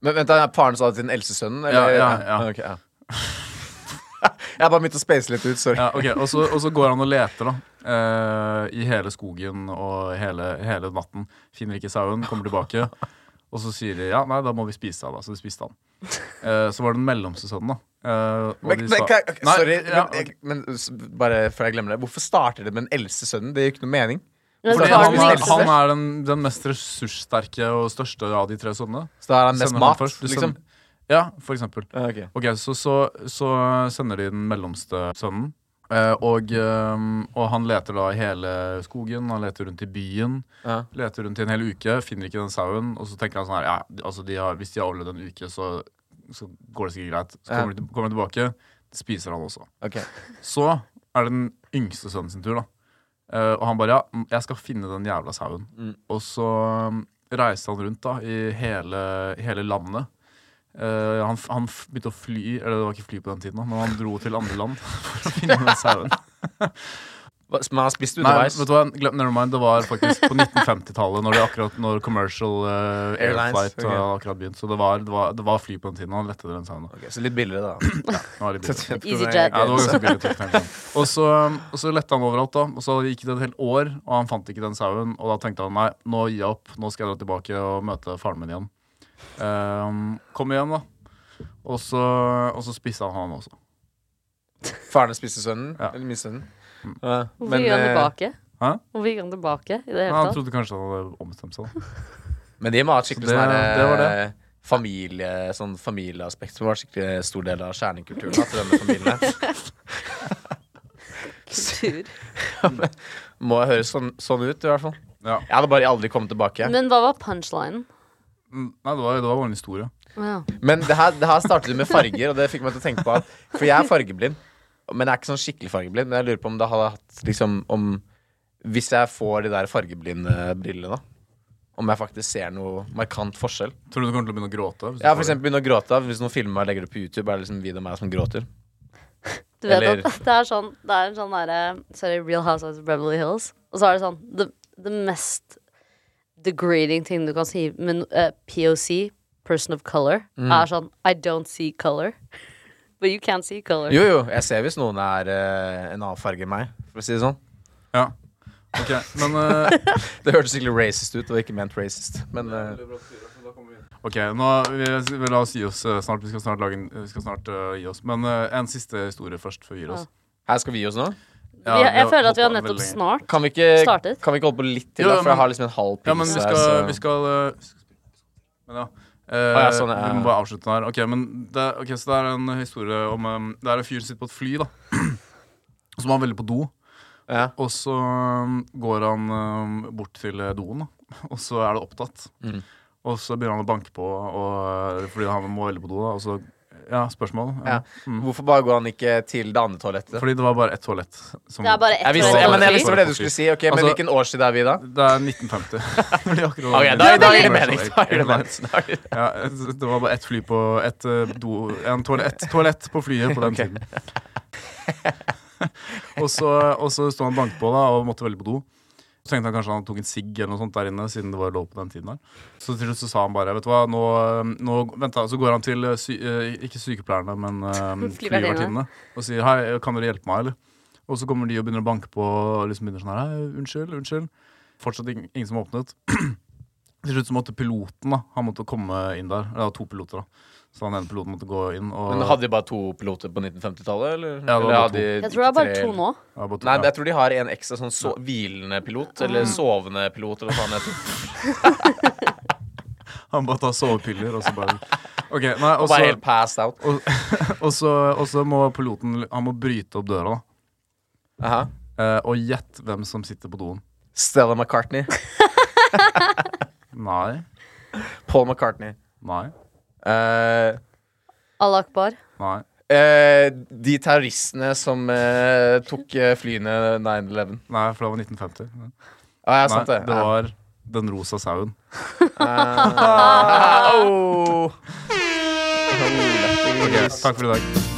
[SPEAKER 3] Men vent, da, faren sa det til den eldste sønnen?
[SPEAKER 1] Ja,
[SPEAKER 3] Eller?
[SPEAKER 1] ja, ja.
[SPEAKER 3] Ok, ja. [laughs] jeg har bare begynt å space litt ut, sorry.
[SPEAKER 1] Ja, ok, og så, og så går han og leter da eh, I hele skogen og hele, hele natten Finner ikke sauen, kommer tilbake Og så sier de, ja, nei, da må vi spise deg da Så de spiste han Eh, Så var det den mellomste sønnen da eh, og
[SPEAKER 3] Men,
[SPEAKER 1] de
[SPEAKER 3] men,
[SPEAKER 1] sa-
[SPEAKER 3] kan- ok,
[SPEAKER 1] Nei,
[SPEAKER 3] sorry,
[SPEAKER 1] ja,
[SPEAKER 3] men, jeg- men s- bare før jeg glemmer det. Hvorfor starter det med den eldste sønnen? Det gir ikke noe mening.
[SPEAKER 2] Ah, men
[SPEAKER 1] fordi
[SPEAKER 2] så var
[SPEAKER 1] han,
[SPEAKER 2] den
[SPEAKER 3] den
[SPEAKER 1] er,
[SPEAKER 2] eldste.
[SPEAKER 1] han er den, den mest ressurssterke og største av de tre sønnene
[SPEAKER 3] Så da er han mest
[SPEAKER 1] Sender han
[SPEAKER 3] mat,
[SPEAKER 1] først, du
[SPEAKER 3] liksom.
[SPEAKER 1] sender- Ja, for eksempel
[SPEAKER 3] Ja, ok.
[SPEAKER 1] Ok, så, så, så sender de den mellomste sønnen. Eh, og, eh, og han leter da i hele skogen, han leter rundt i byen.
[SPEAKER 3] Ja.
[SPEAKER 1] Leter rundt i en hel uke, finner ikke den sauen. Og så tenker han sånn her, ja, altså de har, hvis de har overlevd en uke, så, så går det sikkert greit. Så
[SPEAKER 3] Ja.
[SPEAKER 1] kommer, de, kommer han tilbake, spiser han også.
[SPEAKER 3] Ok.
[SPEAKER 1] Så er det den yngste sønnen sin tur, da. Eh, og han bare ja, mm, jeg skal finne den jævla sauen.
[SPEAKER 3] Mm.
[SPEAKER 1] Og så um, reiste han rundt da i hele, hele landet. Eh, han, f- han f- begynte å fly, eller det var ikke fly på den tiden, da, men han dro til andre land [laughs] for å finne den
[SPEAKER 3] [laughs]
[SPEAKER 1] sauen.
[SPEAKER 3] Hva- Men han spiste
[SPEAKER 1] Nei,
[SPEAKER 3] underveis.
[SPEAKER 1] vet du hva, glem, never mind, det var faktisk på 1950-tallet, når, det akkurat- når commercial eh, air
[SPEAKER 3] Airlines,
[SPEAKER 1] flight
[SPEAKER 3] ok.
[SPEAKER 1] hadde akkurat begynt. Så det var, det, var, det var fly på den tiden, og han lette den sauen. da.
[SPEAKER 3] Ok, så litt billigere, da.
[SPEAKER 1] Det
[SPEAKER 3] [laughs]
[SPEAKER 1] var litt billig.
[SPEAKER 2] EasyJet.
[SPEAKER 1] Ja, det var ganske billig til å tenke om. Og så, um, og så lette han overalt, da. Og så gikk det et helt år, og han fant ikke den sauen. Og da tenkte han nei, nå gir jeg opp. Nå skal jeg dra tilbake og møte faren min igjen. Ehm, kom igjen, da. Og så, og så spiste han han også.
[SPEAKER 3] Faren spiste sønnen.
[SPEAKER 1] Ja.
[SPEAKER 3] Eller min sønnen. Ja,
[SPEAKER 2] Hvorfor
[SPEAKER 3] men,
[SPEAKER 2] gikk han
[SPEAKER 3] eh,
[SPEAKER 2] tilbake?
[SPEAKER 1] Hæ?
[SPEAKER 2] Hvorfor gikk han tilbake i det
[SPEAKER 1] Men
[SPEAKER 2] hele
[SPEAKER 1] han
[SPEAKER 2] tatt?
[SPEAKER 1] trodde kanskje han hadde ombestemt seg. da.
[SPEAKER 3] men de må ha et skikkelig
[SPEAKER 1] Så det-
[SPEAKER 3] sånn her,
[SPEAKER 1] det var det.
[SPEAKER 3] eh, Familie, sånn familieaspekt som var skikkelig stor del av kjernekulturen. da, til denne familien her.
[SPEAKER 2] Kultur.
[SPEAKER 3] Må høres sånn, sånn ut, i hvert fall.
[SPEAKER 1] Ja.
[SPEAKER 3] Jeg hadde bare aldri kommet tilbake.
[SPEAKER 2] Men hva var punchlinen?
[SPEAKER 1] Mm, Nei, det var, det var bare en historie.
[SPEAKER 2] Ja.
[SPEAKER 3] Men det her, det her startet med farger, og det fikk meg til å tenke på at For jeg er fargeblind, men jeg er ikke sånn skikkelig fargeblind. Men jeg lurer på om det hadde hatt liksom om Hvis jeg får de der fargeblinde brillene, om jeg faktisk ser noe markant forskjell.
[SPEAKER 1] Tror du du kommer til å begynne å gråte? hvis du
[SPEAKER 3] Jeg har
[SPEAKER 1] får
[SPEAKER 3] for
[SPEAKER 1] det?
[SPEAKER 3] eksempel begynt å gråte. Hvis noen filmer meg og legger det på YouTube, er det liksom video av meg som gråter.
[SPEAKER 2] Du vet
[SPEAKER 3] Eller-
[SPEAKER 2] at [laughs] det er sånn Det er en sånn derre Sorry, Real Housewives of Beverly Hills. Og så er det sånn Det, det mest degrading ting du kan si med no- eh, POC, person of color,
[SPEAKER 3] Mm.
[SPEAKER 2] er sånn I don't see color. [laughs] But you can see color.
[SPEAKER 3] Jo, jo, jeg ser hvis noen er eh, en annen farge enn meg, for å si det sånn.
[SPEAKER 1] Ja. Ok,
[SPEAKER 3] [laughs]
[SPEAKER 1] men eh,
[SPEAKER 3] Det hørtes skikkelig racist ut, og ikke ment racist, men eh,
[SPEAKER 1] Ok, nå vi, vi la oss gi oss eh, snart. Vi skal snart, lage en, vi skal snart eh, gi oss. Men eh, en siste historie først, før vi gir oss.
[SPEAKER 3] her skal vi gi oss nå.
[SPEAKER 1] Ja, vi
[SPEAKER 2] vi, har- jeg
[SPEAKER 1] har
[SPEAKER 2] føler at vi har
[SPEAKER 1] hoppet veldig
[SPEAKER 2] nettopp
[SPEAKER 1] lenge.
[SPEAKER 2] snart
[SPEAKER 3] Kan vi ikke,
[SPEAKER 2] Startet.
[SPEAKER 3] kan vi ikke holde på litt til,
[SPEAKER 1] Jo,
[SPEAKER 3] da,
[SPEAKER 1] jo,
[SPEAKER 3] for jeg
[SPEAKER 1] men-
[SPEAKER 3] har liksom en halv pils
[SPEAKER 1] Ja, men vi
[SPEAKER 3] her,
[SPEAKER 1] skal,
[SPEAKER 3] så-
[SPEAKER 1] vi skal eh, vi skal spille litt sånt. Men ja. Eh,
[SPEAKER 3] Å, ja, sånn, ja,
[SPEAKER 1] Vi må
[SPEAKER 3] ja.
[SPEAKER 1] bare avslutte den her. Ok, men det, ok, så det er en historie om eh, Det er en fyr som sitter på et fly, da. [clears throat] Som var veldig på do.
[SPEAKER 3] ja.
[SPEAKER 1] Og så um, går han um, bort til eh, doen, da. [laughs] og så er det opptatt.
[SPEAKER 3] Mhm.
[SPEAKER 1] Og så begynner han å banke på og, eh, fordi han må veldig på do. da Og så, ja, spørsmål?
[SPEAKER 3] Ja. Hvorfor bare går han ikke til det andre toalettet?
[SPEAKER 1] Fordi det var bare ett toalett. som-
[SPEAKER 2] Det er bare ett
[SPEAKER 3] Jeg visste,
[SPEAKER 1] toalett.
[SPEAKER 3] ja, men jeg
[SPEAKER 1] Fordi-
[SPEAKER 3] visste hva det du skulle si. Ok, Men
[SPEAKER 1] Altså-
[SPEAKER 3] hvilken årstid er vi i da?
[SPEAKER 1] Det er 1950. [laughs] Fordi akkurat-
[SPEAKER 3] Ok, da, da gir det mening. Da gir det mening. Da
[SPEAKER 1] [laughs]
[SPEAKER 3] gir det-
[SPEAKER 1] Ja, det var bare ett fly på ett eh, do, en toalett, et toalett på flyet på den tiden. og så, og så sto han og banket på da, og måtte veldig på do. Så tenkte han kanskje han tok en sigg eller noe sånt der inne, siden det var lov på den tiden. der. Så til slutt så sa han bare vet du hva, nå, nå vent da, Så går han til eh, sy, eh, ikke sykepleierne, men eh,
[SPEAKER 2] Flyvertinnene.
[SPEAKER 1] flyvertinnene og sier hei, kan dere hjelpe meg, eller? Og så kommer de og begynner å banke på og liksom begynner sånn her hei, unnskyld, unnskyld. Fortsatt ingen, ingen som åpnet. [clears throat] til slutt så måtte piloten da, han måtte komme inn der. Det var to piloter, da. Så han ene piloten måtte gå inn. Og,
[SPEAKER 3] Men hadde de bare to piloter på 1950-tallet? Eller?
[SPEAKER 1] Ja, det var
[SPEAKER 3] eller
[SPEAKER 1] bare to.
[SPEAKER 3] hadde de
[SPEAKER 2] Jeg tror det er bare
[SPEAKER 3] tre-
[SPEAKER 2] to nå.
[SPEAKER 1] Ja, bare to-
[SPEAKER 3] Nei,
[SPEAKER 1] ja. [laughs]
[SPEAKER 3] jeg tror de har en ekstra sånn so hvilende pilot, eller sovende pilot, eller hva faen det heter. [laughs]
[SPEAKER 1] Han bare tar sovepiller og så bare Ok, nei, og
[SPEAKER 3] Og bare
[SPEAKER 1] så-
[SPEAKER 3] helt passed out.
[SPEAKER 1] og- og så- og så må piloten Han må bryte opp døra, da.
[SPEAKER 3] Aha.
[SPEAKER 1] Eh, og gjett hvem som sitter på doen.
[SPEAKER 3] Stella [laughs] McCartney.
[SPEAKER 1] Nei.
[SPEAKER 3] Paul McCartney.
[SPEAKER 1] Nei.
[SPEAKER 3] Eh,
[SPEAKER 2] Allah akbar.
[SPEAKER 1] Nei.
[SPEAKER 3] eh, de terroristene som eh, tok eh, flyene 9-11.
[SPEAKER 1] Nei, for det var 1950.
[SPEAKER 3] Ah, ja,
[SPEAKER 1] Nei,
[SPEAKER 3] sant det.
[SPEAKER 1] det var Den rosa sauen.
[SPEAKER 3] Ah, oh. [laughs]
[SPEAKER 1] Ok, takk for i dag.